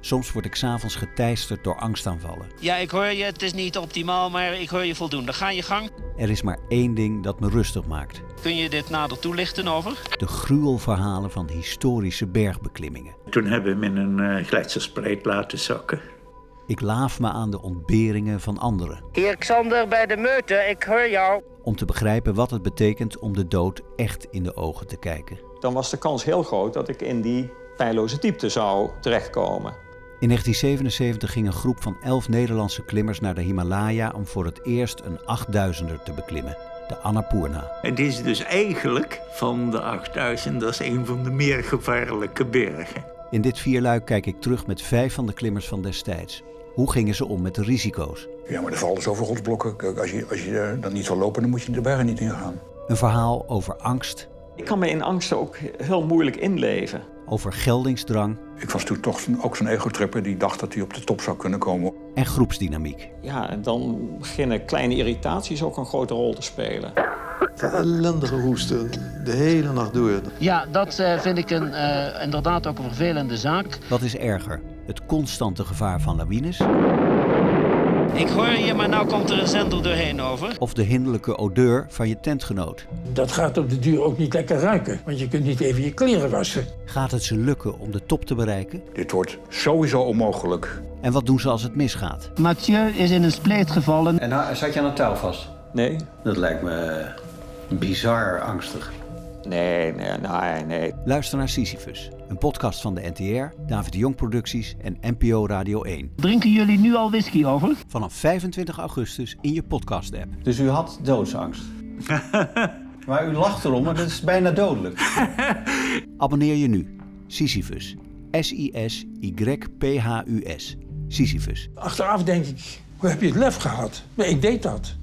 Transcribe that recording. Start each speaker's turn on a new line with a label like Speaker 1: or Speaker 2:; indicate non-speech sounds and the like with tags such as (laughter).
Speaker 1: Soms word ik s'avonds geteisterd door angstaanvallen.
Speaker 2: Ja, ik hoor je, het is niet optimaal, maar ik hoor je voldoende. Ga je gang.
Speaker 1: Er is maar één ding dat me rustig maakt.
Speaker 2: Kun je dit nader toelichten over?
Speaker 1: De gruwelverhalen van historische bergbeklimmingen.
Speaker 3: Toen hebben we hem in een uh, glijsterspreid laten zakken.
Speaker 1: Ik laaf me aan de ontberingen van anderen.
Speaker 4: Hier Xander bij de meute, ik hoor jou.
Speaker 1: Om te begrijpen wat het betekent om de dood echt in de ogen te kijken.
Speaker 5: Dan was de kans heel groot dat ik in die pijnloze diepte zou terechtkomen.
Speaker 1: In 1977 ging een groep van elf Nederlandse klimmers naar de Himalaya om voor het eerst een 8000er te beklimmen, de Annapurna.
Speaker 3: Het is dus eigenlijk van de 8000, dat is een van de meer gevaarlijke bergen.
Speaker 1: In dit vierluik kijk ik terug met vijf van de klimmers van destijds. Hoe gingen ze om met de risico's?
Speaker 6: Ja, maar er vallen zoveel rotsblokken. Als je, als je dan niet wil lopen, dan moet je de bergen niet ingaan.
Speaker 1: Een verhaal over angst.
Speaker 5: Ik kan me in angsten ook heel moeilijk inleven.
Speaker 1: Over geldingsdrang.
Speaker 6: Ik was toen toch ook zo'n egotripper die dacht dat hij op de top zou kunnen komen.
Speaker 1: En groepsdynamiek.
Speaker 5: Ja, en dan beginnen kleine irritaties ook een grote rol te spelen.
Speaker 7: Ellendige hoesten, de hele nacht door.
Speaker 2: Ja, dat uh, vind ik een, uh, inderdaad ook een vervelende zaak.
Speaker 1: Wat is erger? Het constante gevaar van lawines?
Speaker 2: Ik hoor je, maar nou komt er een zender doorheen over.
Speaker 1: Of de hinderlijke odeur van je tentgenoot.
Speaker 8: Dat gaat op de duur ook niet lekker ruiken, want je kunt niet even je kleren wassen.
Speaker 1: Gaat het ze lukken om de top te bereiken?
Speaker 6: Dit wordt sowieso onmogelijk.
Speaker 1: En wat doen ze als het misgaat?
Speaker 2: Mathieu is in een spleet gevallen.
Speaker 9: En nou, zat je aan een touw vast?
Speaker 5: Nee.
Speaker 9: Dat lijkt me bizar angstig.
Speaker 5: Nee, nee, nee, nee.
Speaker 1: Luister naar Sisyphus, een podcast van de NTR, David de Jong Producties en NPO Radio 1.
Speaker 2: Drinken jullie nu al whisky over?
Speaker 1: Vanaf 25 augustus in je podcast-app.
Speaker 9: Dus u had doodsangst?
Speaker 1: (laughs)
Speaker 9: maar u lacht erom, maar dat is bijna dodelijk.
Speaker 1: (laughs) Abonneer je nu. Sisyphus. S-I-S-Y-P-H-U-S. Sisyphus.
Speaker 8: Achteraf denk ik, hoe heb je het lef gehad? Maar ik deed dat.